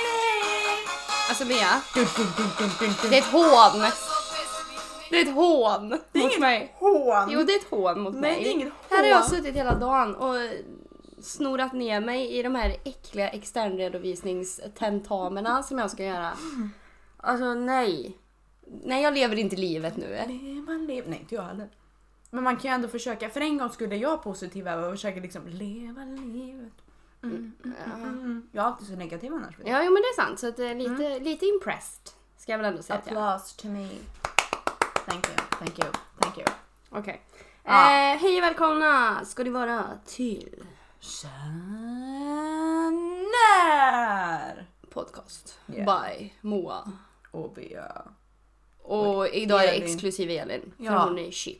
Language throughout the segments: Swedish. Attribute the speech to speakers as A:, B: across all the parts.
A: Mm,
B: alltså Bea. Det är ett hån. Det är ett hån
A: Det är
B: mot
A: inget
B: mig.
A: hån.
B: Jo, det är ett hån mot
A: Nej,
B: mig.
A: det är inget
B: Här har jag
A: hån.
B: suttit hela dagen och snorat ner mig i de här äckliga externredovisningstentamerna som jag ska göra. Alltså nej. Nej, jag lever inte livet nu.
A: Nej, man lever... Nej, inte jag heller. Men man kan ju ändå försöka, för en gång skulle jag positiv och försöka liksom leva livet. Mm. Jag är alltid så negativ annars.
B: Ja, jo, men det är sant. Så att, eh, lite,
A: Mm.
B: lite impressed ska jag väl ändå säga att jag är.
A: Applause to me. Thank you, thank you, thank you.
B: Okej.
A: Ja.
B: Eh, hej och välkomna ska ni vara till
A: Känner!
B: podcast
A: Yeah.
B: by Moa.
A: Och Bea.
B: Och idag är det
A: Elin.
B: exklusiv Elin, för
A: Ja.
B: hon är chic.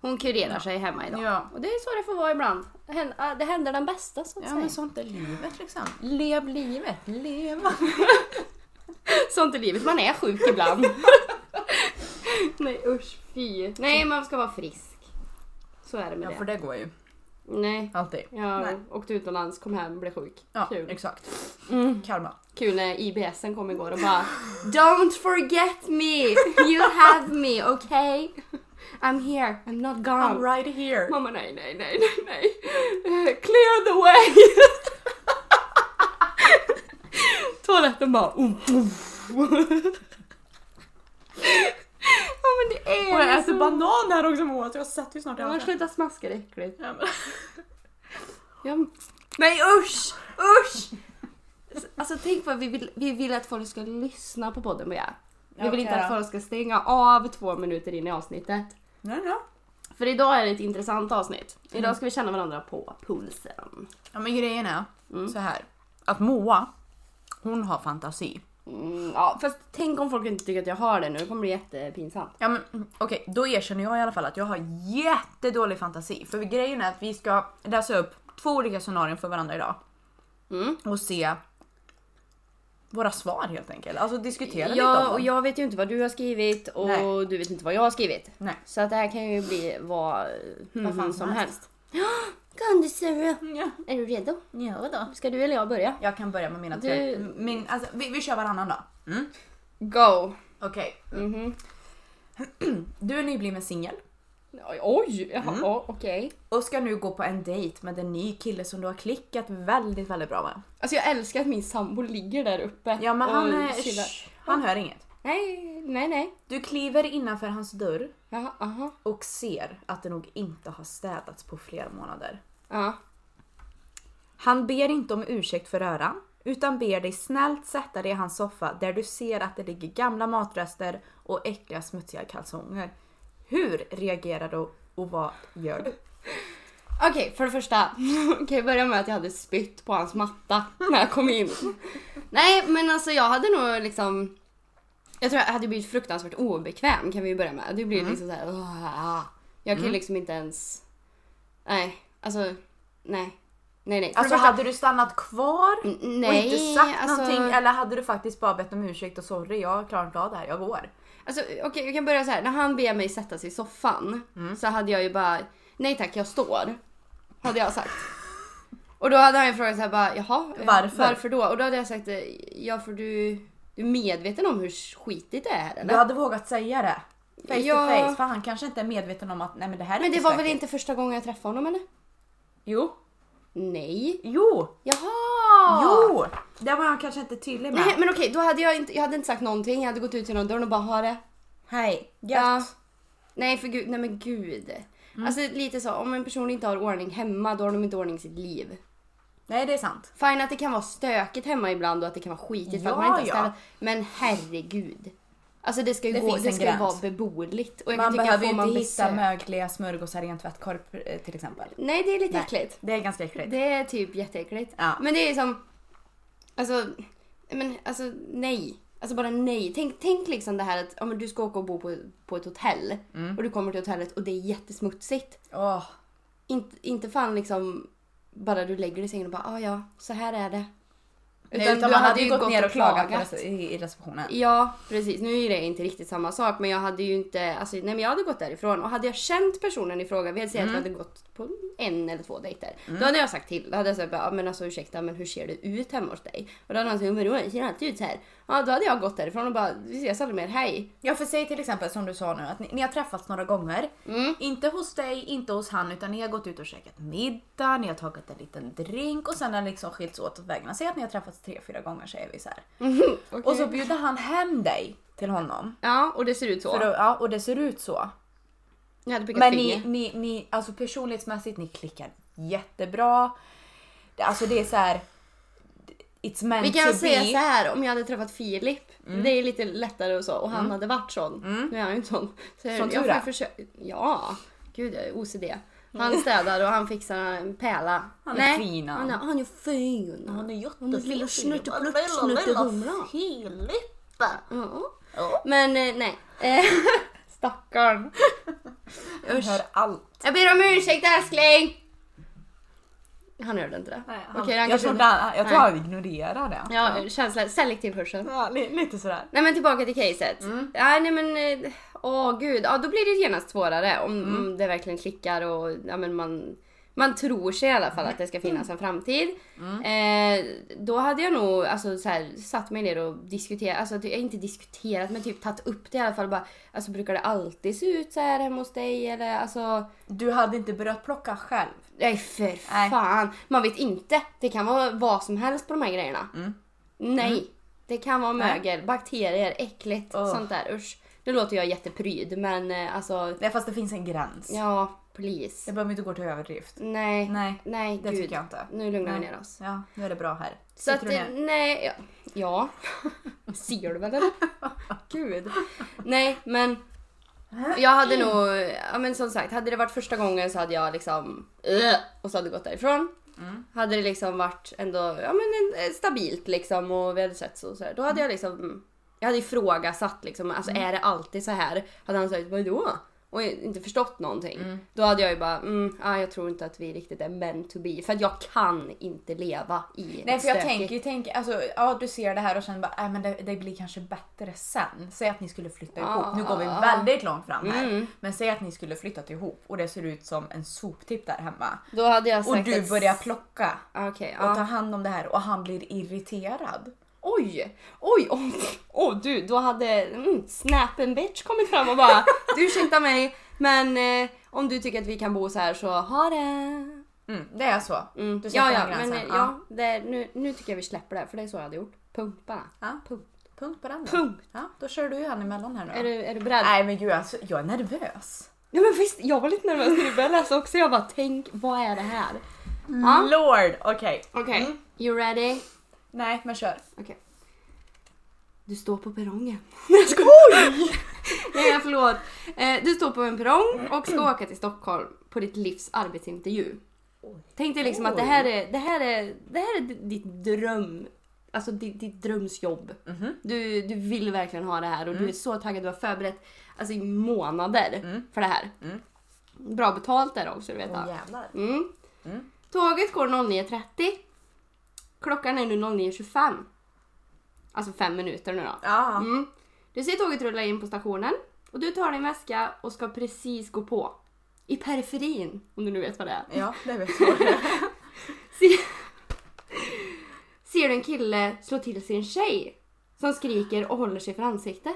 B: Hon kurerar sig hemma idag.
A: Ja.
B: Och det är så det får vara ibland. Det hän- ah, Det händer den bästa så att
A: Ja
B: säga.
A: men sånt är livet liksom. Lev livet, leva.
B: Sånt är livet, man är sjuk ibland. Nej usch fy. Nej man ska vara frisk. Så är det med
A: Ja
B: det.
A: för det går ju.
B: Nej.
A: Alltid.
B: Jag
A: Nej.
B: åkte utomlands, kom hem, blev sjuk.
A: Ja
B: Kul.
A: exakt.
B: Mm.
A: Karma.
B: Kul när IBSen kom igår och bara Don't forget me! You have me, okay? I'm here, I'm not gone.
A: I'm right here.
B: Mamma nej, nej, nej, nej, nej. Eh, Clear the way! Toaletten bara... Um, um. ja men det är
A: Och jag
B: ju
A: äter banan här också Moa så jag sätter ju snart i
B: Ja, men
A: halsen.
B: sluta smaska det är äckligt.
A: Ja, men-
B: Ja. Nej usch! Usch! Alltså tänk vad vi vill, vi vill att folk ska lyssna på podden Bea. Vi
A: Ja,
B: vill
A: okej
B: inte att
A: då.
B: folk ska stänga av två minuter in i avsnittet.
A: Nej, nej.
B: För idag är det ett intressant avsnitt. Idag ska vi känna varandra på pulsen.
A: Ja men grejen är så här att Moa, hon har fantasi.
B: Mm, ja, fast tänk om folk inte tycker att jag har det nu, det kommer bli jättepinsamt.
A: Ja men mm, okej, då erkänner jag i alla fall att jag har jättedålig fantasi. För grejen är att vi ska läsa upp två olika scenarion för varandra idag.
B: Mm.
A: Och se våra svar helt enkelt. Alltså diskutera lite om
B: Ja,
A: dem.
B: och jag vet ju inte vad du har skrivit och
A: Nej.
B: du vet inte vad jag har skrivit.
A: Nej.
B: Så att det här kan ju bli vad, vad fan
A: mm,
B: som
A: mm.
B: helst. Gandhi
A: Ja.
B: är du redo?
A: Ja, då.
B: Ska du eller jag börja?
A: Jag kan börja med mina
B: Du-
A: tre. Min, alltså, vi, vi kör varannan då. Mm.
B: Go!
A: Okej,
B: Mhm.
A: du är nybliven singel.
B: Oj, Oj! Jaha, ja, okej.
A: Och ska nu gå på en dejt med en ny kille som du har klickat väldigt, väldigt bra med.
B: Alltså jag älskar att min sambo ligger där uppe
A: Ja men han,
B: och
A: är,
B: chillar.
A: shh, han hör inget.
B: Nej, nej, nej.
A: Du kliver innanför hans dörr
B: Jaha, aha.
A: och ser att det nog inte har städats på flera månader.
B: Ja.
A: Han ber inte om ursäkt för röran, utan ber dig snällt sätta dig i hans soffa där du ser att det ligger gamla matrester och äckliga smutsiga kalsonger. Hur reagerar du och vad gör du?
B: Okej, för det första kan jag börja med att jag hade spytt på hans matta när jag kom in. Nej, men alltså jag hade nog liksom... Jag tror jag hade blivit fruktansvärt obekväm kan vi ju börja med. Det blir
A: Mm.
B: liksom såhär... "Åh." Jag kan ju liksom inte ens... Nej, alltså... Nej. Nej, nej. För
A: Alltså
B: det första-
A: hade du stannat kvar och
B: nej,
A: inte sagt
B: alltså-
A: någonting eller hade du faktiskt bara bett om ursäkt och sorry jag klarar inte av det här, jag går.
B: Alltså okej, vi kan börja så här. När han ber mig sätta sig i soffan
A: Mm.
B: så hade jag ju bara, nej tack jag står. Hade jag sagt. Och då hade han ju frågat så här bara, jaha eh,
A: Varför?
B: varför då? Och då hade jag sagt, eh, ja för du, du är medveten om hur skitigt det är här, eller?
A: Du hade vågat säga det. Face
B: Ja.
A: to face, för han kanske inte är medveten om att nej men det här är
B: Men det
A: inte
B: var väl
A: stökigt.
B: inte första gången jag träffade honom eller?
A: Jo.
B: Nej.
A: Jo!
B: Jaha!
A: Jo! Det var han kanske inte tydlig med.
B: Nej men okej, då hade jag inte, jag hade inte sagt någonting. Jag hade gått ut genom dörren och bara, ha det.
A: Hej,
B: Ja.
A: gött. Mm.
B: Nej för gud, nej men gud. Alltså lite så, om en person inte har ordning hemma då har de inte ordning i sitt liv.
A: Nej det är sant.
B: Fine att det kan vara stökigt hemma ibland och att det kan vara skitigt för att
A: Ja,
B: man inte har
A: ja.
B: städat. Men herregud. Alltså det ska ju,
A: Det
B: gå,
A: finns
B: det
A: en
B: ska ju vara
A: gräns.
B: beboeligt. Och jag
A: Man
B: kan tycka,
A: behöver ju
B: får
A: inte
B: man
A: hitta
B: besök-
A: mögliga smörgåsar i en tvättkorg eh, till exempel.
B: Nej det är lite
A: Nej.
B: äckligt.
A: Det är ganska äckligt.
B: Det är typ jätteäckligt.
A: Ja.
B: Men det är som... Alltså, men, alltså nej. Alltså bara nej. Tänk, tänk liksom det här att ja, men du ska åka och bo på, på ett hotell.
A: Mm.
B: Och du kommer till hotellet och det är jättesmutsigt.
A: Åh,
B: Inte, inte fan liksom bara du lägger dig i sängen och bara ah, ja, så här är det. Utan
A: Nej,
B: du hade ju gått ner och klagat.
A: på res- i, i receptionen.
B: Ja, precis. Nu är det inte riktigt samma sak, men jag hade ju inte... Alltså, nej, men jag hade gått därifrån och hade jag känt personen i fråga, vi hade sagt
A: Mm.
B: att vi hade gått på en eller två dejter. Då hade jag sagt till. Då hade jag sagt, ja, men alltså ursäkta, men hur ser det ut hemma hos dig? Och då hade han sagt, men det ser alltid ut så här. Ja, då hade jag gått därifrån och bara, vi ses aldrig mer, hej.
A: Ja för säg till exempel som du sa nu att ni, ni har träffats några gånger.
B: Mm.
A: Inte hos dig, inte hos han utan ni har gått ut och käkat middag, ni har tagit en liten drink och sen har ni liksom skilts åt åt vägarna. Säg att ni har träffats tre, fyra gånger säger vi så här. Och
B: Mm.
A: så bjuder han hem dig till honom.
B: Ja, och det ser ut så.
A: För då, ja, och det ser ut så.
B: jag hade pekat
A: Men ni,
B: finger.
A: ni, ni, alltså personlighetsmässigt, ni klickar jättebra. Det- Alltså det är så här. It's meant
B: Vi
A: to
B: kan säga
A: be. Mm.
B: så här, om jag hade träffat Filip, det är lite lättare och så, och han hade varit sån. Nu är han ju inte sån. Så
A: Som
B: jag
A: tur är.
B: får försöka. Ja, gud jag är OCD. Han städar och han fixar en pärla.
A: Mm. Han är fin, han.
B: han. är- Han är fin. Han
A: är
B: är lilla
A: jättefin.
B: snutteplutt,
A: Lilla, lilla
B: snuttehumla.
A: Filip.
B: Ja.
A: Ja.
B: Men eh, nej. Eh, Stackarn.
A: Jag hör allt.
B: Jag ber om ursäkt älskling! Han hörde inte det. Okej, han
A: jag,
B: kanske inte...
A: trodde, han- jag tror han ignorerar det.
B: Ja, känsla, selektiv hörsel.
A: Ja, li- lite sådär.
B: Nej men tillbaka till caset. Ja, nej men, eh, åh gud. Ja, då blir det genast svårare om, om det verkligen klickar och ja, men man, man tror sig i alla fall att det ska finnas en framtid. Eh, då hade jag nog alltså, så här, satt mig ner och diskuterat, alltså jag inte diskuterat men typ tagit upp det i alla fall. Bara, alltså brukar det alltid se ut så här hemma hos dig eller alltså
A: Du hade inte börjat plocka själv.
B: Nej för
A: Nej.
B: fan. Man vet inte. Det kan vara vad som helst på de här grejerna.
A: Mm.
B: Nej. Det kan vara mögel, bakterier, äckligt,
A: Ugh.
B: sånt där. Usch. Nu låter jag jättepryd men eh, alltså.
A: Nej, fast det finns en gräns.
B: Ja, please.
A: Det behöver inte gå till överdrift.
B: Nej.
A: Nej,
B: Nej,
A: det
B: gud.
A: tycker jag inte.
B: Nu lugnar vi
A: Nej.
B: ner oss.
A: Ja, nu är det bra här.
B: Så att,
A: Sitter du
B: eh,
A: ner?
B: nej, ja. ja. Ser du väl eller? Gud. Nej, men
A: Äh?
B: jag hade nog, ja men som sagt, hade det varit första gången så hade jag liksom "Ugh", och så hade jag gått därifrån.
A: Mm.
B: Hade det liksom varit ändå, ja men en- eh, stabilt liksom och vi hade sett så, så här, då hade jag liksom, mm, jag hade ifrågasatt liksom, alltså
A: Mm.
B: är det alltid så här? Hade han sagt vadå? Och inte förstått någonting. Då hade jag ju bara, mm, ah, jag tror inte att vi riktigt är meant to be. För att jag kan inte leva i
A: Nej
B: ett
A: för jag
B: stökigt-
A: tänker ju, tänk, alltså, ja du ser det här och känner bara, äh, men det, det blir kanske bättre sen. Säg att ni skulle flytta ihop, nu går vi
B: Ah. Mm.
A: väldigt långt fram här. Men säg att ni skulle flyttat ihop och det ser ut som en soptipp där hemma.
B: Då hade jag
A: Och
B: sagt
A: du
B: att-
A: börjar plocka
B: Okej,
A: och ta
B: ja.
A: hand om det här och han blir irriterad.
B: Oj! Oj! Åh åh, du, då hade mm, Snap and bitch kommit fram och bara du ursäkta mig men eh, om du tycker att vi kan bo så här så ha det!
A: Mm, det är så.
B: Mm.
A: Du sätter
B: ja, ja,
A: den
B: men
A: gränsen.
B: eh, ja, det, nu, nu tycker jag vi släpper det här, för det är så jag hade gjort. Punkt bara.
A: Ja.
B: Punkt.
A: Punkt på den då.
B: Punkt.
A: Ja, då kör du ju han emellan här nu.
B: Är du, är du beredd?
A: Nej men gud alltså, jag är nervös.
B: Nej men visst, jag var lite nervös när du började läsa också. Jag bara tänk, vad är det här?
A: Mm.
B: Ja.
A: Lord! Okej.
B: Okej. You ready?
A: Nej men kör.
B: Okej. Du står på perrongen. Nej jag skojar! Nej förlåt. Eh, Du står på en perrong och ska åka till Stockholm på ditt livs arbetsintervju. Tänk dig liksom att det här är, det här är, det här är ditt dröm. Alltså ditt, ditt drömsjobb. Du, du vill verkligen ha det här och du är så taggad. Du har förberett alltså, i månader för det här. Bra betalt är det också, du vet.
A: Åh jävlar.
B: Mm. Tåget går 09.30. Klockan är nu 09.25. Alltså fem minuter nu då.
A: Ja.
B: Mm. Du ser tåget rulla in på stationen och du tar din väska och ska precis gå på. I periferin, om du nu vet vad det är.
A: Ja, det vet jag.
B: Se- Ser du en kille slå till sin tjej som skriker och håller sig för ansiktet?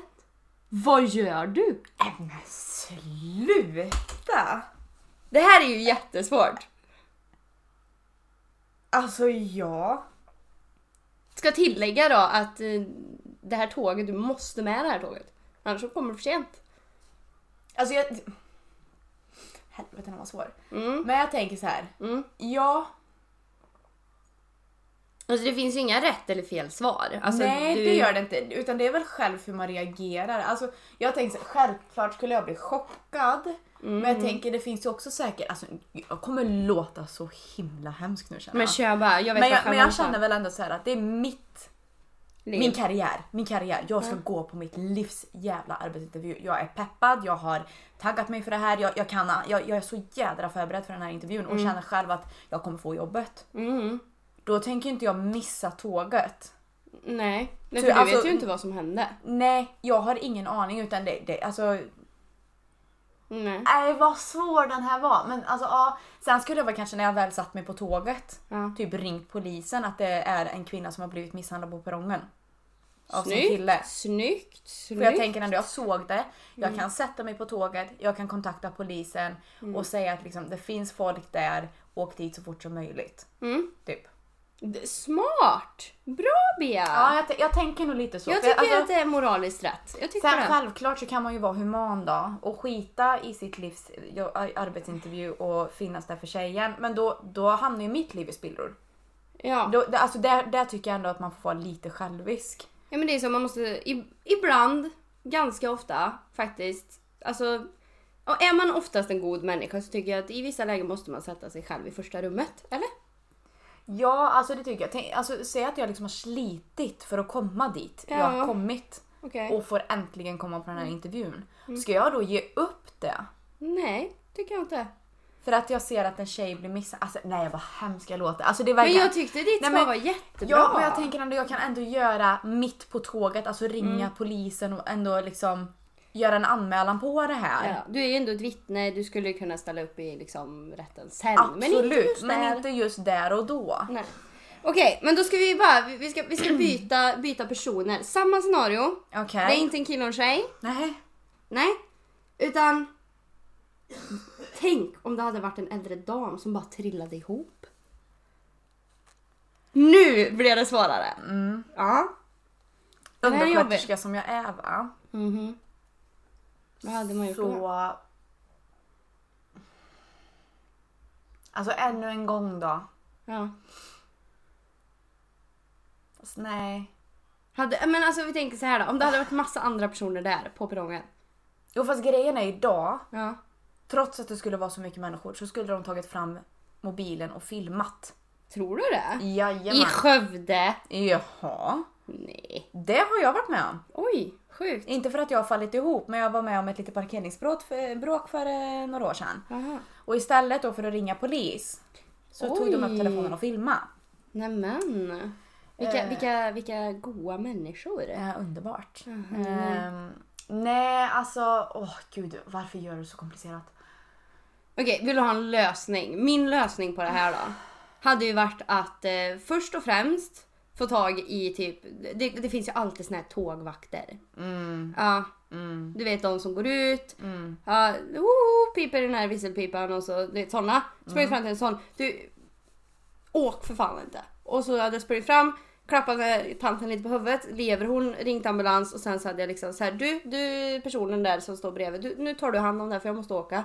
B: Vad gör du?
A: Nej, men sluta!
B: Det här är ju jättesvårt.
A: Alltså ja.
B: Ska tillägga då att eh, det här tåget, du måste med det här tåget. Annars så kommer du för sent.
A: Alltså jag... Helvete den var svår.
B: Mm.
A: Men jag tänker så här.
B: Mm.
A: Ja,
B: Alltså det finns ju inga rätt eller fel svar. Alltså,
A: nej
B: du...
A: det gör det inte. Utan det är väl själv hur man reagerar. Alltså jag tänker så här, självklart skulle jag bli chockad. Men
B: Mm.
A: jag tänker det finns ju också säkert, alltså jag kommer låta så himla hemskt nu känner
B: Men
A: jag.
B: kör bara, jag vet
A: Men
B: vad
A: jag, men jag känner väl ändå så här att det är mitt Min
B: Min
A: karriär, min karriär. Jag
B: Mm.
A: ska gå på mitt livs jävla arbetsintervju. Jag är peppad, jag har taggat mig för det här. Jag, jag, kan, jag, jag är så jädra förberedd för den här intervjun och känner själv att jag kommer få jobbet.
B: mm.
A: Då tänker inte jag missa tåget.
B: Nej, Nej
A: Så,
B: för du
A: alltså-
B: vet ju inte vad som hände.
A: Nej, jag har ingen aning utan det, det alltså
B: Nej.
A: Nej vad svår den här var. Men alltså ja, sen skulle jag väl kanske när jag väl satt mig på tåget
B: Ja.
A: typ ringt polisen att det är en kvinna som har blivit misshandlad på perrongen. Av
B: Snyggt,
A: sin kille.
B: snyggt, snyggt.
A: För jag tänker ändå, jag såg det, jag kan sätta mig på tåget, jag kan kontakta polisen och säga att liksom, det finns folk där, åk dit så fort som möjligt.
B: Mm.
A: Typ.
B: D- Smart! Bra Bea!
A: Ja, jag, t- jag tänker nog lite så.
B: jag
A: för
B: tycker
A: alltså-
B: att det är moraliskt rätt. Jag tycker
A: Sen
B: det.
A: självklart så kan man ju vara human då och skita i sitt livs jo- arbetsinterview och finnas där för tjejen. Men då, då hamnar ju mitt liv i spillror.
B: Ja.
A: Då, det- alltså där, där tycker jag ändå att man får vara lite självisk.
B: ja, men det är så man måste i- ibland, ganska ofta faktiskt, alltså ja, är man oftast en god människa så tycker jag att i vissa lägen måste man sätta sig själv i första rummet. Eller?
A: Ja, alltså det tycker jag. Tänk, alltså, säg att jag liksom har slitit för att komma dit jag
B: Ja.
A: har kommit
B: Okej. Mm.
A: och får äntligen komma på den här intervjun. Ska jag då ge upp det?
B: Nej, tycker jag inte.
A: För att jag ser att en tjej blir missad. Alltså nej vad hemskt jag låter. Alltså, det
B: Men
A: verkar...
B: jag tyckte ditt svar
A: Nej, men-
B: var jättebra.
A: Ja, men jag tänker ändå jag kan ändå göra mitt på tåget, alltså ringa
B: Mm.
A: polisen och ändå liksom göra en anmälan på det här.
B: Ja, du är ju ändå ett vittne, du skulle ju kunna ställa upp i liksom rätten sen.
A: Absolut, men inte, just
B: där.
A: där och då.
B: Nej. Okej, men då ska vi bara, vi- vi ska, vi ska byta, byta personer. Samma scenario.
A: Okej.
B: Det är inte en kille och en tjej.
A: Nej.
B: Nej. Utan... Tänk om det hade varit en äldre dam som bara trillade ihop. Nu blev det svårare. Ja. Den här är jobbig.
A: Undersköterska som jag är va?
B: Vad hade man gjort då?
A: Så... Alltså ännu en gång då.
B: Ja.
A: Fast nej.
B: Hade, men alltså vi tänker så här då. Om det hade varit massa andra personer där på perrongen.
A: Jo fast grejen är idag,
B: Ja.
A: trots att det skulle vara så mycket människor så skulle de tagit fram mobilen och filmat.
B: Tror du det? I
A: Jajamän.
B: Skövde?
A: Jaha.
B: Nej.
A: Det har jag varit med om.
B: Oj, sjukt.
A: Inte för att jag har fallit ihop, men jag var med om ett litet parkeringsbråk för, bråk för eh, några år sedan.
B: Aha.
A: Och istället då för att ringa polis så tog de
B: Oj.
A: upp telefonen och filmade.
B: Nämen. Vilka, vilka, vilka goa människor.
A: Eh, underbart. Ehm, nej, alltså, åh gud, varför gör du så komplicerat?
B: Okej, vill du ha en lösning? Min lösning på det här då. Hade ju varit att eh, först och främst få tag i typ, det, det finns ju alltid såna här tågvakter.
A: Mm.
B: Ja. Du vet de som går ut, ja, woho, piper den här visselpipan och så, det är såna.
A: Mm.
B: Spring fram till en sån. Du, åk för fan inte. Och så hade jag sprungit fram, klappade tanten lite på huvudet, lever hon, ringt ambulans och sen så hade jag liksom så här, du, du personen där som står bredvid, du, nu tar du hand om det här för jag måste åka.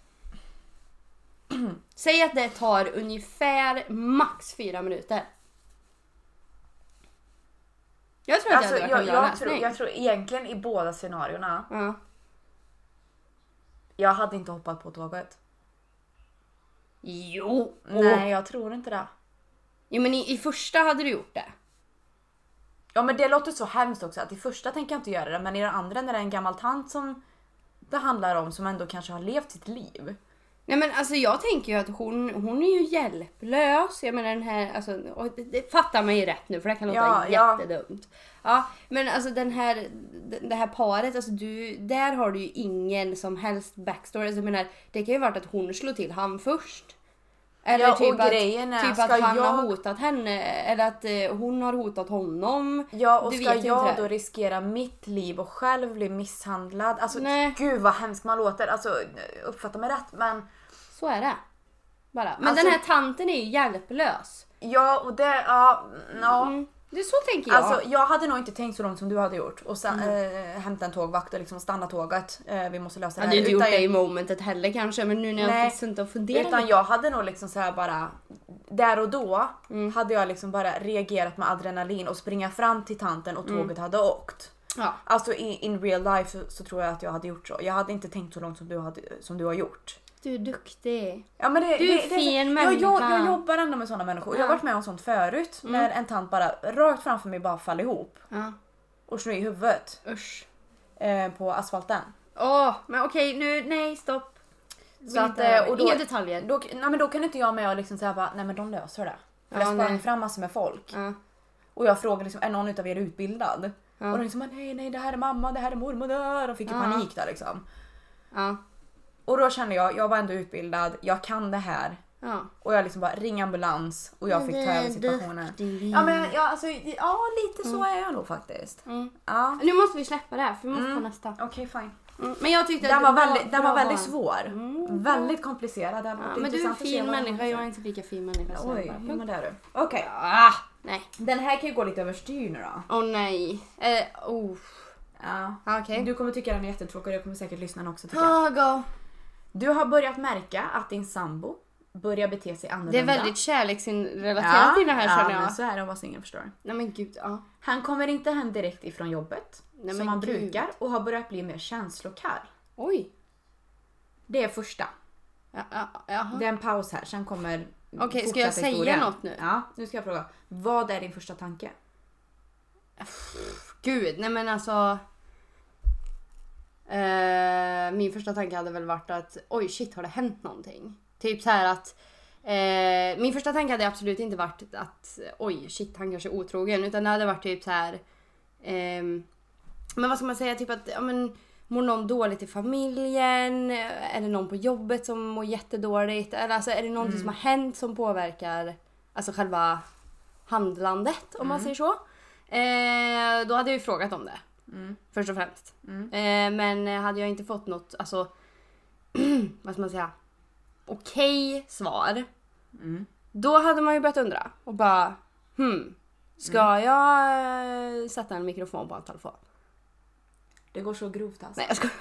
B: Säg att det tar ungefär max fyra minuter. Jag tror att
A: Alltså,
B: det hade
A: jag,
B: varit en bra
A: jag, tror,
B: lösning.
A: jag tror egentligen i båda scenarierna,
B: Ja.
A: jag hade inte hoppat på tåget.
B: Jo!
A: Nej, jag tror inte det.
B: Jo men i, i första hade du gjort det.
A: Ja men det låter så hemskt också att i första tänker jag inte göra det men i den andra när det är en gammal tant som det handlar om som ändå kanske har levt sitt liv.
B: Nej men alltså jag tänker ju att hon, hon är ju hjälplös. Jag menar den här, alltså, och det, det fattar man ju rätt nu för det kan låta
A: Ja, ja.
B: jättedumt. Ja, men alltså den här, det- det här paret, alltså du, där har du ju ingen som helst backstory. Alltså, jag menar, det kan ju varit att hon slog till han först. Eller
A: Ja, och
B: typ,
A: grejen är,
B: att, typ att
A: ska
B: han
A: jag-
B: har hotat henne eller att eh, hon har hotat honom.
A: Ja och
B: Du
A: ska
B: vet ju inte
A: jag
B: det.
A: då riskera mitt liv och själv bli misshandlad? Alltså
B: Nej.
A: gud vad hemskt man låter. Alltså uppfatta mig rätt men
B: Så är det. Bara. Men
A: Alltså-
B: den här tanten är ju hjälplös.
A: ja och det, ja, ja.
B: Mm. Det är så tänker jag.
A: Alltså jag hade nog inte tänkt så långt som du hade gjort och sen eh, hämta en tågvakt och liksom stanna tåget. Eh, vi måste lösa
B: jag hade
A: det
B: ju inte gjort
A: Utan
B: Mm. det
A: jag-
B: i momentet heller kanske men nu när
A: Nej.
B: jag suttit och funderat.
A: Utan jag hade nog liksom så här bara, där och då
B: Mm.
A: hade jag liksom bara reagerat med adrenalin och springa fram till tanten och
B: Mm.
A: tåget hade åkt.
B: ja.
A: Alltså i, in real life så, så tror jag att jag hade gjort så. Jag hade inte tänkt så långt som du, hade, som du har gjort.
B: Du är duktig.
A: Ja, men det,
B: Du är
A: det- det,
B: fin
A: jag, jag,
B: människa.
A: jag jobbar ändå med sådana människor. Jag
B: Ja. Mm.
A: har varit med om sånt förut när en tant bara rakt framför mig bara faller ihop
B: Ja.
A: och slår i huvudet
B: Usch.
A: eh, på asfalten.
B: Åh, men okej nu, nej stopp. Vill
A: att,
B: inte höra
A: eh, och
B: mer.
A: då-
B: Inga detaljer.
A: Då, nej, men då kan inte jag med och liksom säga bara nej men de löser det. För det
B: Ja,
A: sprang
B: nej.
A: fram massor med folk.
B: Ja.
A: Och jag frågade liksom, är någon utav er utbildad?
B: Ja.
A: Och de liksom, nej nej det här är mamma, det här är mormor. där." Och fick ju
B: Ja.
A: panik där liksom.
B: Ja.
A: Och då kände jag, jag var ändå utbildad, jag kan det här.
B: Ja.
A: Och jag liksom bara ring ambulans och jag fick ta över situationen.
B: duktig.
A: Ja men jag, alltså, ja lite så är jag nog faktiskt.
B: Mm.
A: Ja.
B: Nu måste vi släppa det här för vi måste ta nästa.
A: Okej fine.
B: Mm. Men jag tyckte
A: Den
B: det
A: var väldigt, den
B: bra
A: var väldigt
B: val.
A: svår. Väldigt komplicerad.
B: Ja,
A: Den
B: men du är en fin människa, jag är inte Mm. lika fin människa. så
A: Oj,
B: jag bara,
A: ja, men
B: punkt.
A: det är du. Okej.
B: ah, nej.
A: Den här kan ju gå lite överstyr nu då.
B: Åh nej. Eh, oh.
A: Ja.
B: Ah, Okej.
A: Du kommer tycka den är jättetråkig och jag kommer säkert lyssna också tycker jag.
B: Ah, go.
A: Du har börjat märka att din sambo börjar bete sig annorlunda.
B: Det är väldigt kärleksrelaterat i det här
A: ja,
B: känner jag.
A: Men så är det att vara singel förstår du.
B: Nej men gud, ja.
A: Han kommer inte hem direkt ifrån jobbet
B: Nej,
A: som
B: men
A: han
B: gud.
A: brukar och har börjat bli mer känslokall.
B: Oj.
A: Det är första.
B: Ja, ja, jaha.
A: Det är en paus här, sen kommer
B: Okej, ska
A: fortsatta
B: jag säga
A: historien.
B: något nu?
A: Ja, nu ska jag fråga. Vad är din första tanke?
B: Gud, nej men alltså. Eh, min första tanke hade väl varit att oj shit har det hänt någonting? Typ så här att eh, min första tanke hade absolut inte varit att oj shit han kanske är otrogen utan det hade varit typ så här. ehm, men vad ska man säga typ att ja, men, mår någon dåligt i familjen? Är det någon på jobbet som mår jättedåligt? Eller alltså, är det någonting som har hänt som påverkar alltså själva handlandet om man
A: Mm.
B: säger så? Eh, då hade jag ju frågat om det.
A: Mm.
B: Först och främst. Eh, men eh, hade jag inte fått något, alltså, vad ska man säga, okej svar.
A: Mm.
B: Då hade man ju börjat undra och bara, hmm, ska
A: Mm.
B: jag eh, sätta en mikrofon på hans telefon?
A: Det går så grovt alltså.
B: Nej jag skojar.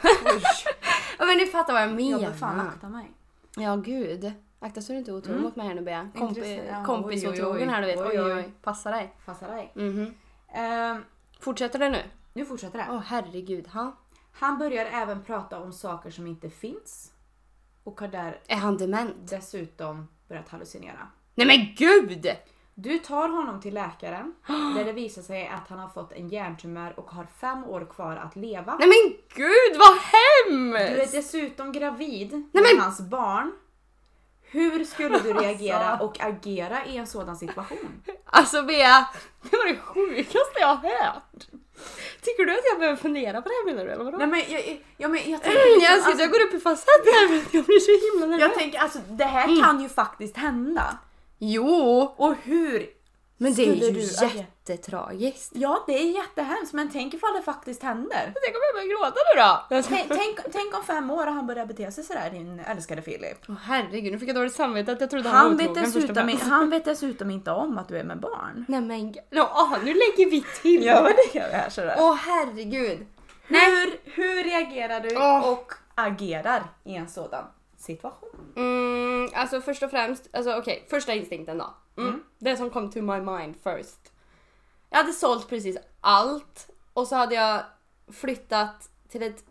B: Ja, men ni fattar vad jag
A: jag bör fan
B: menar.
A: akta mig.
B: Ja gud. Akta så du inte är otrogen mot mig här nu Bea. Komp-
A: Intresse- ja, oj, oj,
B: kompisotrogen
A: oj.
B: här du vet. Oj oj
A: Oj,
B: oj. Passa dig.
A: Passa dig.
B: Mhm.
A: Ehm,
B: Fortsätter det nu?
A: nu fortsätter
B: Åh
A: det.
B: herregud. Ha?
A: Han börjar även prata om saker som inte finns. Och har där
B: Är han dement?
A: dessutom börjat hallucinera.
B: Nej men gud!
A: Du tar honom till läkaren där det visar sig att han har fått en hjärntumör och har fem år kvar att leva.
B: Nej men gud vad
A: Du är
B: hemskt!
A: dessutom gravid
B: Nej,
A: med
B: men-
A: hans barn. Hur skulle du reagera och agera i en sådan situation?
B: Alltså Bea, det var det sjukaste jag har hört. Tycker du att jag behöver fundera på det här menar du eller vadå?
A: Nej men jag, jag, men, jag tänker
B: Jag
A: liksom,
B: älskar att
A: alltså,
B: jag går upp i falsett här för att jag blir så himla
A: jag
B: nervös.
A: tänker alltså det här
B: Mm.
A: kan ju faktiskt hända.
B: Jo,
A: Och hur?
B: men det är
A: Skulle
B: ju
A: du agera?
B: jättetragiskt.
A: Ja det är jättehemskt men tänk ifall det faktiskt händer.
B: Tänk om jag börjar gråta nu då? Jag ska-
A: Tänk, tänk, tänk om fem år och han börjar bete sig sådär din älskade Filip.
B: Åh herregud, nu fick jag dåligt samvete att jag trodde han,
A: Han
B: var
A: vet,
B: otrogen först och
A: dessutom,
B: främst.
A: han vet dessutom inte om att du är med barn.
B: Nej men g- no, ah, nu lägger vi till.
A: det gör vi här sådär.
B: Åh herregud.
A: Hur, hur reagerar du
B: Åh.
A: och agerar i en sådan situation?
B: Mm, alltså först och främst, alltså okej, första instinkten då. Mm. Det som kom to my mind first. Jag hade sålt precis allt och så hade jag flyttat till ett,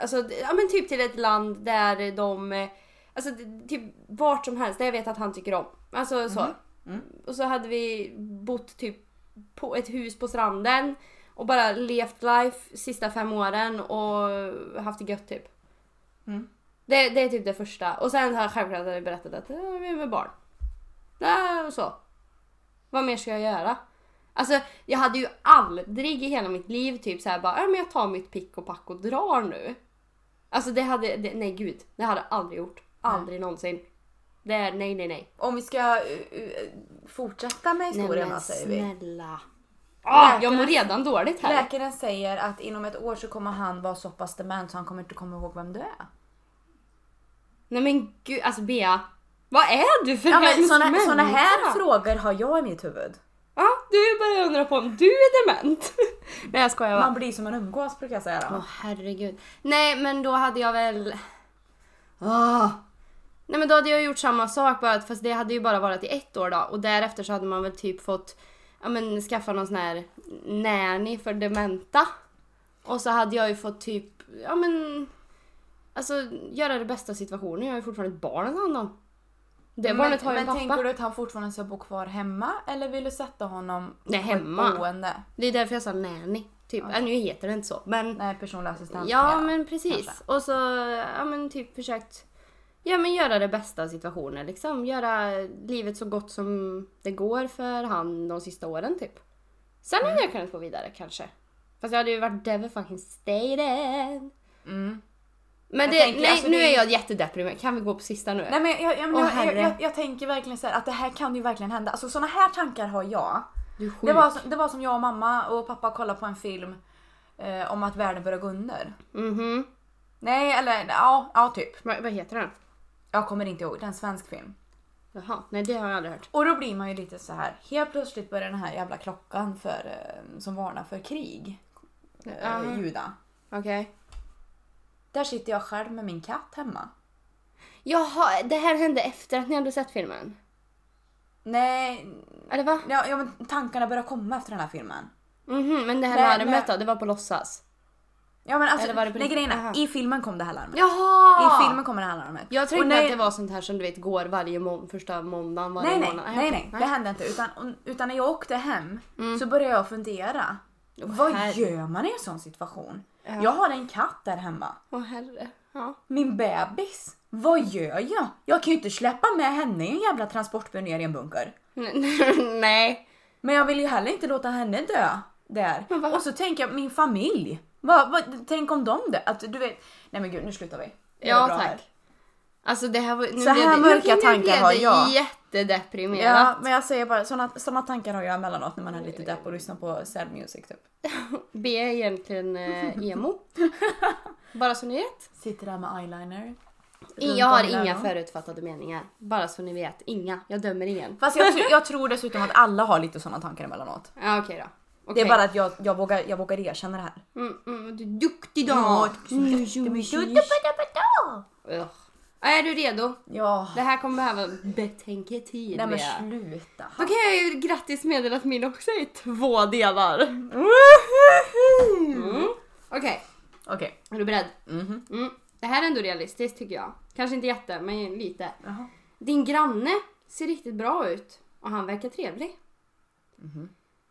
B: alltså ja men typ till ett land där de, eh, alltså d- typ vart som helst där jag vet att han tycker om. Alltså så. Och så hade vi bott typ på ett hus på stranden och bara levt life sista fem åren och haft det gött typ. Det, det är typ det första. Och sen har jag självklart hade jag berättat att äh, vi är med barn. Äh, och så. Vad mer ska jag göra? Alltså jag hade ju aldrig i hela mitt liv typ såhär bara äh, men jag tar mitt pick och pack och drar nu. Alltså det hade, det, nej gud, det hade jag aldrig gjort. Aldrig någonsin. Det är nej nej nej.
A: Om vi ska eh, eh, fortsätta med historien vad säger vi.
B: snälla. Ah, jag
A: Läkarna-
B: mår redan dåligt här.
A: Läkaren säger att inom ett år så kommer han vara så pass dement så han kommer inte komma ihåg vem du är.
B: Nej men gud, alltså Bea. Vad är du för
A: Ja, men
B: hemsk
A: såna,
B: människa?
A: såna här frågor har jag i mitt huvud.
B: Ja, du börjar undra på om du är dement. Nej jag skojar bara.
A: Man blir som man umgås brukar jag säga.
B: Åh
A: Då.
B: herregud. Nej men då hade jag väl... Åh. Nej men då hade jag gjort samma sak bara att- fast det hade ju bara varit i ett år då och därefter så hade man väl typ fått ja, men, skaffa någon sån här nanny för dementa. Och så hade jag ju fått typ, ja men alltså göra det bästa av situationen. Jag har ju fortfarande ett barn att ta hand om. Det barnet har ju en
A: men
B: pappa.
A: tänker du att han fortfarande ska bo kvar hemma eller vill du sätta honom
B: Nej,
A: på ett
B: hemma.
A: boende?
B: Det är därför jag sa nanny. Typ. Ja. Nu heter det inte så men
A: Nej, personlig assistent.
B: Ja men precis.
A: kanske.
B: Och så ja, men typ försökt ja, men göra det bästa av situationen. Liksom. Göra livet så gott som det går för han de sista åren typ. Sen hade
A: Mm.
B: jag kunnat gå vidare kanske. Fast jag hade ju varit devil fucking stated. Men det,
A: Mm. tänker,
B: nej,
A: alltså,
B: nu
A: det är-
B: är jag jättedeprimerad. Kan vi gå på sista nu?
A: Nej men jag, jag, men
B: Åh,
A: jag, jag,
B: herre.
A: jag, jag tänker verkligen så här att det här kan ju verkligen hända. Alltså sådana här tankar har jag.
B: du är sjuk.
A: Det var, som- det var som jag och mamma och pappa kollade på en film eh, om att världen börjar gå under.
B: Mhm.
A: Nej eller ja, ja typ.
B: Vad vad heter den?
A: Jag kommer inte ihåg, det är en svensk film.
B: Jaha, nej det har jag aldrig hört.
A: Och då blir man ju lite så här. helt plötsligt börjar den här jävla klockan för, eh, som varnar för krig eh,
B: Ja.
A: ljuda.
B: Okej.
A: Där sitter jag själv med min katt hemma.
B: Jaha, det här hände efter att ni hade sett filmen?
A: Nej,
B: Eller va?
A: ja, ja men tankarna börjar komma efter den här filmen.
B: Mhm, men det här
A: Nej,
B: larmet då,
A: men-
B: det var på låtsas?
A: Ja men alltså,
B: Eller var det på
A: nej,
B: riktigt?
A: grejen
B: Aha.
A: är, i filmen kom det här larmet.
B: Jaha!
A: I filmen kommer det här larmet.
B: Jag
A: Och
B: tänkte
A: nej-
B: att det var sånt här som du vet går varje mån- första måndagen varje
A: Nej nej,
B: månad.
A: nej, nej, det hände inte. Utan, utan när jag åkte hem så började jag fundera. vad
B: Mm. herre.
A: gör man i en sån situation? Jag har en katt där hemma.
B: Åh herre. Ja.
A: Min bebis. Vad gör jag? Jag kan ju inte släppa med henne i en jävla transportbur ner i en bunker.
B: nej.
A: Men jag vill ju heller inte låta henne dö där.
B: Men vad-
A: Och så tänker jag min familj. Vad, vad, tänk om de dör? Att du vet. Nej men gud nu slutar vi. Det är
B: Ja
A: bra här.
B: tack. Alltså det här var... Nu
A: Så här
B: blev det-
A: mörka
B: nu,
A: tankar
B: nu blev
A: har
B: det
A: jag. Ja
B: jättedeprimerat.
A: men jag säger bara såna, såna tankar har jag emellanåt när man är lite depp och lyssnar på sad music typ.
B: B är egentligen eh, emo. Bara så ni vet.
A: Sitter där med eyeliner. Runt
B: Jag har
A: om i
B: inga
A: ögonen.
B: förutfattade meningar. Bara så ni vet. Inga. Jag dömer ingen.
A: Fast jag, tr- jag tror dessutom att alla har lite såna tankar emellanåt.
B: Ja okej då.
A: Det
B: Okej.
A: är bara att jag, jag, vågar, jag vågar erkänna det här.
B: Mm, mm, du är duktig
A: Ja,
B: då! Mm, Ugh. Är du redo?
A: Ja.
B: Det här kommer behöva betänketid.
A: Nej men
B: Bea.
A: sluta.
B: Då kan jag ju grattis meddela att min också är i två delar. Mm. Okej,
A: Okej.
B: är du beredd?
A: Mhm.
B: Mm. Det här är ändå realistiskt tycker jag. Kanske inte jätte, men lite. Din granne ser riktigt bra ut och han verkar trevlig.
A: Mhm.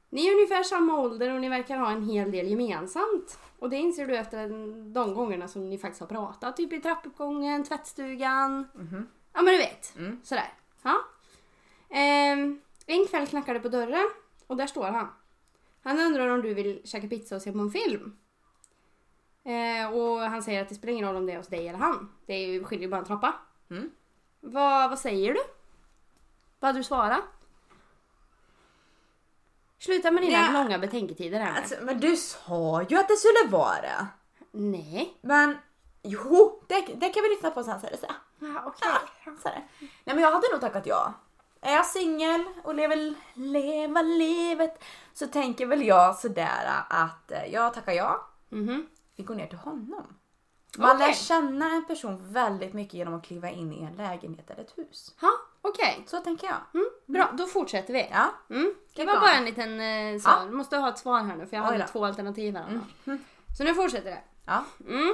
B: Ni är ungefär samma ålder och ni verkar ha en hel del gemensamt. Och det inser du efter en- de gångerna som ni faktiskt har pratat. Typ i trappuppgången, tvättstugan. Ja men du vet.
A: Mm.
B: Sådär. Ja. Ehm, en kväll knackar det på dörren och där står han. Han undrar om du vill käka pizza och se på en film. Eh, och han säger att det spelar ingen roll om det är hos dig eller han. Det är ju, skiljer ju bara en trappa.
A: Mm.
B: Vad, vad säger du? Vad hade du svarat? Sluta med dina
A: Nej.
B: långa betänketider här nu.
A: Alltså, men du sa ju att det skulle vara det.
B: Nej.
A: Men jo, det, det kan vi lyssna på sen. Så här, så här.
B: Ja,
A: Så här. Nej men jag hade nog tackat ja. Är jag singel och lever leva livet så tänker väl jag sådär att eh, jag tackar ja.
B: Mm-hmm.
A: Vi går ner till honom. Man
B: Okej.
A: lär känna en person väldigt mycket genom att kliva in i en lägenhet eller ett hus.
B: Ha, okej.
A: Så tänker jag.
B: Mm, bra, då fortsätter vi.
A: Ja.
B: Mm. Det
A: Klick
B: var
A: av.
B: bara en liten eh, så.
A: Ja.
B: Du måste ha ett svar här nu för jag
A: Oj
B: hade
A: då. Mm.
B: två alternativ här. annars. Så nu fortsätter det.
A: ja.
B: Mm.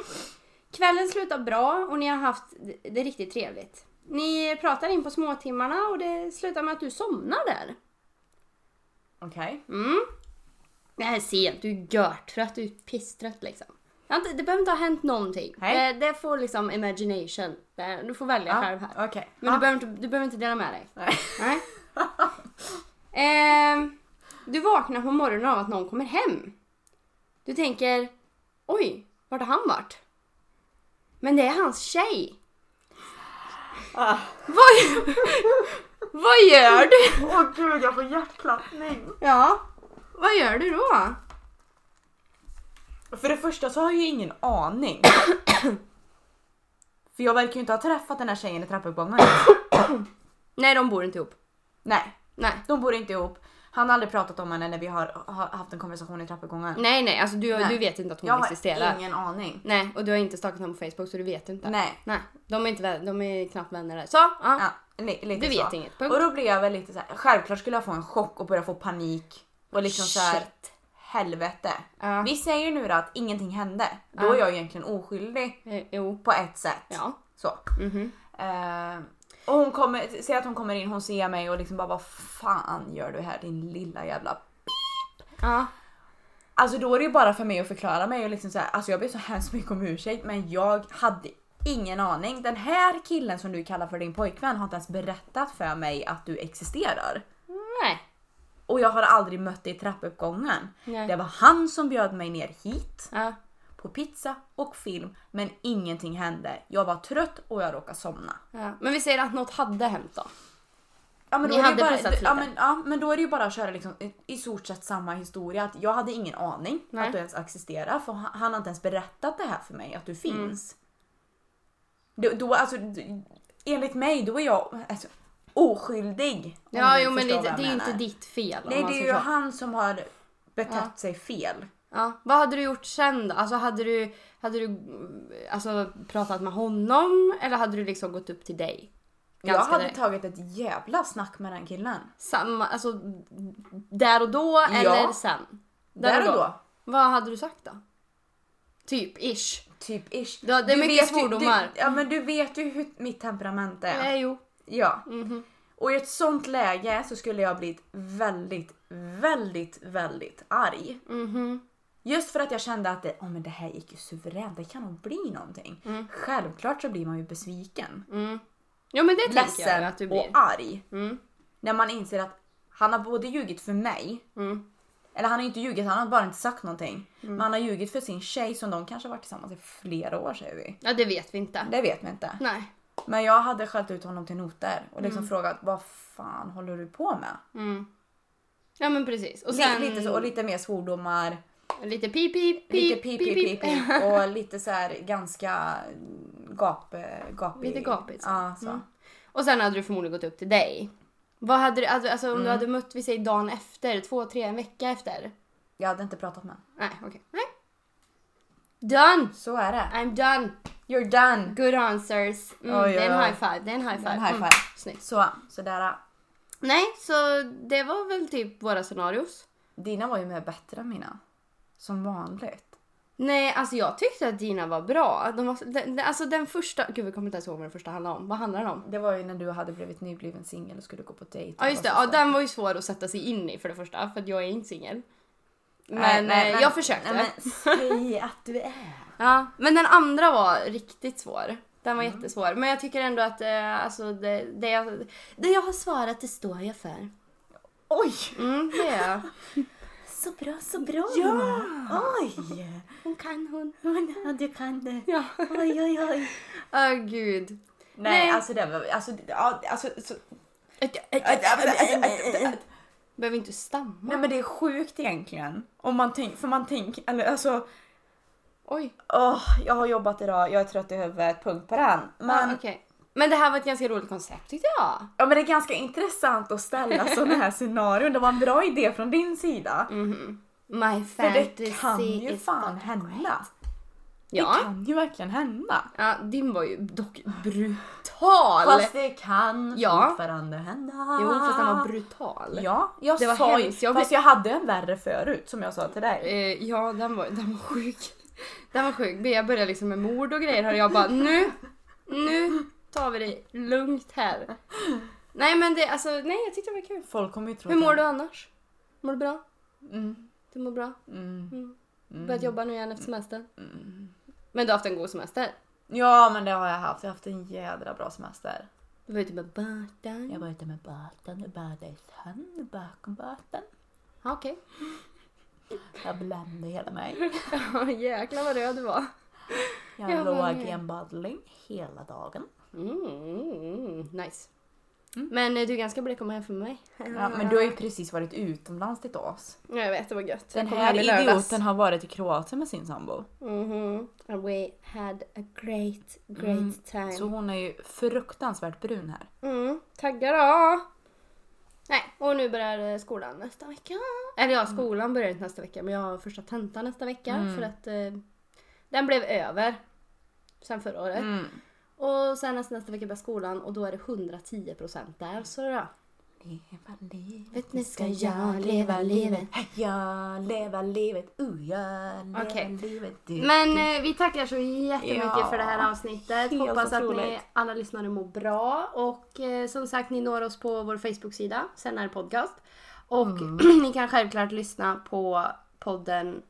B: Kvällen slutar bra och ni har haft det- det riktigt trevligt. Ni pratar in på småtimmarna och det slutar med att du somnar där.
A: Okej.
B: Mm. Det här är sent, du är görtrött, du är pisstrött liksom. Det, har inte- det behöver inte ha hänt någonting.
A: Nej.
B: Det, det får liksom imagination. Det, du får välja
A: Ja.
B: själv här.
A: Okej.
B: Men du, behöver inte, du behöver inte dela med dig.
A: Nej.
B: Nej. Ehm, du vaknar på morgonen av att någon kommer hem. Du tänker, oj, vart har han varit? Men det är hans tjej. Vad, vad gör du?
A: Åh gud, jag får hjärtklappning.
B: Ja. Vad gör du då?
A: För det första så har jag ju ingen aning. För jag verkar ju inte ha träffat den här tjejen i trappuppgången.
B: Nej, de bor inte ihop.
A: Nej,
B: Nej.
A: de bor inte ihop. Han har aldrig pratat om henne när vi har, har haft en konversation i trappuppgången.
B: Nej, nej, alltså du,
A: Nej.
B: du vet inte att hon
A: jag
B: existerar.
A: har ingen aning.
B: Nej, och du har inte stalkat honom på Facebook så du vet inte.
A: Nej.
B: Nej, de är, inte, vän- de är knappt vänner där. Så, ja.
A: Ja, li, lite
B: Du vet
A: så.
B: inget, punkt.
A: Och då blev jag väl lite så här. självklart skulle jag få en chock och börja få panik. Och liksom så här,
B: Shit.
A: helvete.
B: Ja.
A: Vi säger nu då att ingenting hände. Då är jag egentligen oskyldig
B: Eh, Jo.
A: på ett sätt.
B: Ja. Mhm.
A: Så. Eh, och hon kommer, säg att hon kommer in, hon ser mig och liksom bara vad fan gör du här din lilla jävla...
B: Ja.
A: Alltså då är det ju bara för mig att förklara mig och liksom så här, alltså jag ber så hemskt mycket om ursäkt men jag hade Ingen aning. Den här killen som du kallar för din pojkvän har inte ens berättat för mig att du existerar.
B: Nej.
A: Och jag har aldrig mött dig i trappuppgången.
B: Nej.
A: Det var han som bjöd mig ner hit
B: Ja.
A: på pizza och film men ingenting hände. Jag var trött och jag råkade somna.
B: Ja. Men vi säger att något hade hänt då.
A: Ja, men
B: Ni
A: då är det
B: hade
A: ju bara,
B: pussats lite.
A: Ja men, ja men då är det ju bara att köra liksom, i- i stort sett samma historia. Att jag hade ingen aning
B: Nej.
A: att du ens existerar för han, han har inte ens berättat det här för mig att du
B: Mm.
A: finns. Då, då, alltså, d- enligt mig då är jag alltså, oskyldig. om
B: Ja,
A: du
B: jo men det,
A: förstår
B: det
A: vad jag
B: är ju inte
A: menar.
B: ditt fel. om
A: Nej
B: man
A: det är
B: ska
A: ju
B: så.
A: han som har betett sig fel.
B: Ja. Vad hade du gjort sen då? Alltså hade du, hade du mm, alltså, pratat med honom eller hade du liksom gått upp till dig?
A: jag hade
B: direkt?
A: tagit ett jävla snack med den killen.
B: Samma, alltså där och då eller sen?
A: Där och då.
B: Vad hade du sagt då? Typ ish.
A: Typ ish.
B: Ja, det är mycket
A: vet ju-
B: svordomar.
A: Du, ja men du vet ju hur mitt temperament är.
B: Nej, jo.
A: Ja.
B: Mhm.
A: Och i ett sånt läge så skulle jag blivit väldigt, väldigt, väldigt arg.
B: Mhm.
A: Just för att jag kände att det, oh, men det här gick ju suveränt, det kan nog bli någonting.
B: Mm.
A: Självklart så blir man ju besviken,
B: Jo men det tänker
A: ledsen
B: Mm, jag att du
A: och
B: blir. Mm.
A: arg. När man inser att han har både ljugit för mig,
B: Mm.
A: eller han har inte ljugit, han har bara inte sagt någonting. Men han har ljugit för sin tjej som de kanske har varit tillsammans i flera år säger vi.
B: Ja det vet vi inte.
A: Det vet vi inte.
B: Nej.
A: Men jag hade skällt ut honom till noter och liksom
B: Mm.
A: frågat vad fan håller du på med?
B: Ja men precis. Och
A: Li-
B: sen
A: Lite, så, och lite mer svordomar,
B: lite pip pip pip
A: lite pip pip pip, pip och lite så här ganska gap, gapig.
B: Lite gapigt, så.
A: Ja, så.
B: Och sen hade du förmodligen gått upp till dig. Vad hade du, alltså alltså, om
A: Mm.
B: du hade mött, vi säger dagen efter, två, tre, en vecka efter?
A: Jag hade inte pratat med honom.
B: Nej okej. Nej. Done!
A: Så är det.
B: I'm done!
A: You're done!
B: Good answers. Mm,
A: Oj,
B: Det är en
A: oj, oj.
B: high five, det är en high five.
A: En high
B: Mm.
A: five.
B: Snyggt.
A: Så, sådär.
B: Nej, så det var väl typ våra scenarios.
A: Dina var ju mer bättre än mina. Som vanligt.
B: Nej, alltså jag tyckte att dina var bra. De var, den, den- alltså den första, gud jag kommer inte ens ihåg vad den första handlade om. Vad handlade den om?
A: Det var ju när du hade blivit nybliven singel och skulle gå på dejt.
B: Ja just det,
A: Och
B: ja,
A: så-
B: den var ju svår att sätta sig in i för det första för att jag är inte singel. Men
A: Nej, nej,
B: eh,
A: men-
B: jag försökte.
A: Nej, men säg att du är.
B: Ja, men den andra var riktigt svår. Den
A: Mm.
B: var jättesvår. Men jag tycker ändå att eh, alltså, det, det, jag, det jag har svarat det står jag för.
A: Oj!
B: Mm, det gör jag.
A: Så bra, så bra! Ja! Oj!
B: Hon kan hon.
A: Ja, du kan det.
B: Ja.
A: Oj, oj, oj.
B: Åh gud.
A: Nej,
B: Nej.
A: alltså det var... Alltså, ja, alltså, så,
B: Behöver inte stamma.
A: Nej men det är sjukt egentligen. Om man tänk, för man tänker, eller alltså...
B: Oj.
A: åh, jag har jobbat idag, jag är trött i huvudet, punkt på den. Men,
B: Men, men det här var ett ganska roligt koncept tyckte jag.
A: ja, men det är ganska intressant att ställa sådana här scenarion. Det var en bra idé från din sida.
B: My
A: För
B: Mm. fantasy
A: det kan ju
B: is
A: fan
B: fuck-
A: hända. Det
B: Ja.
A: kan ju verkligen hända.
B: ja, din var ju dock brutal.
A: Fast det kan
B: Ja.
A: fortfarande hända.
B: Jo, fast den var brutal.
A: Ja, jag
B: Det var
A: sa ju,
B: hemskt. Jag
A: fast jag hade en värre förut som jag sa till dig.
B: Eh, ja, den var, den var sjuk. Den var sjuk. Bea började liksom med mord och grejer här och jag bara nu, nu tar vi det lugnt här. Nej men det, alltså nej jag tyckte det var kul.
A: Folk kommer ju tro
B: Hur mår
A: att-
B: du annars? Mår du bra?
A: Mm,
B: Du mår bra?
A: mm,
B: Börjat jobba nu igen efter semestern? Men du har haft en god semester?
A: Ja men det har jag haft, jag har haft en jädra bra semester.
B: Du var ute med båten?
A: Jag var ute med båten och badade i sjön bakom båten.
B: Ja, okej.
A: Jag blände hela mig.
B: Ja, jäklar vad röd du var.
A: Jag,
B: Jag var
A: låg
B: med.
A: i en badling hela dagen.
B: Mm, nice. Men eh, du är ganska blek om jämfört med mig.
A: Mm. Ja, men du har ju precis varit utomlands ditt as.
B: Ja, jag vet, det var gött.
A: Den
B: jag kom
A: här
B: hem i lördags.
A: idioten har varit i Kroatien med sin sambo.
B: Mhm. And we had a great, great time.
A: Mm. Så hon är ju fruktansvärt brun här.
B: Mm, taggar då! Nej, och nu börjar eh, skolan nästa vecka. Eller
A: Mm.
B: ja, skolan börjar inte nästa vecka men jag har första tentan nästa vecka för att eh, den blev över sen förra året.
A: Mm.
B: Och sen nästa, nästa vecka börjar skolan och då är det 110% där. Så då.
A: Leva livet.
B: Vet ni, ska jag leva livet?
A: Jag leva livet, uh, jag leva
B: Okej.
A: livet. Du.
B: Men eh, vi tackar så jättemycket
A: Mm. Ja.
B: för det här avsnittet.
A: Helt
B: Hoppas att ni
A: otroligt.
B: alla lyssnare mår bra. Och eh, som sagt, ni når oss på vår Facebook-sida, Senare Podcast. Och
A: Mm.
B: ni kan självklart lyssna på podden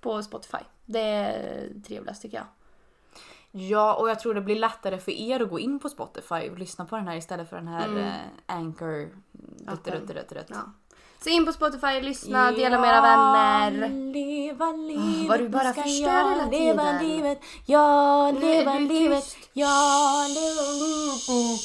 B: på Spotify. Det är trevligast tycker jag.
A: Ja, och jag tror det blir lättare för er att gå in på Spotify och lyssna på den här istället för den här eh, Anchor. Rutt, rutt, rutt,
B: Mm.
A: rutt.
B: Ja. Så in på Spotify, lyssna, dela med era vänner. Ah,
A: Leva livet,
B: vad du bara
A: nu ska
B: förstör
A: jag
B: hela
A: leva
B: tiden.
A: livet. Ja,
B: är
A: leva
B: du
A: livet.
B: tyst.
A: Ja, leva livet.